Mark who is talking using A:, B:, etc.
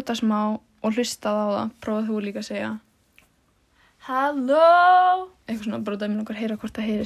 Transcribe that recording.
A: uppgöta smá og hlustað á það, prófað þú líka að segja
B: Halló
A: eitthvað svona bara út af mér langar að heyra hvort það heyri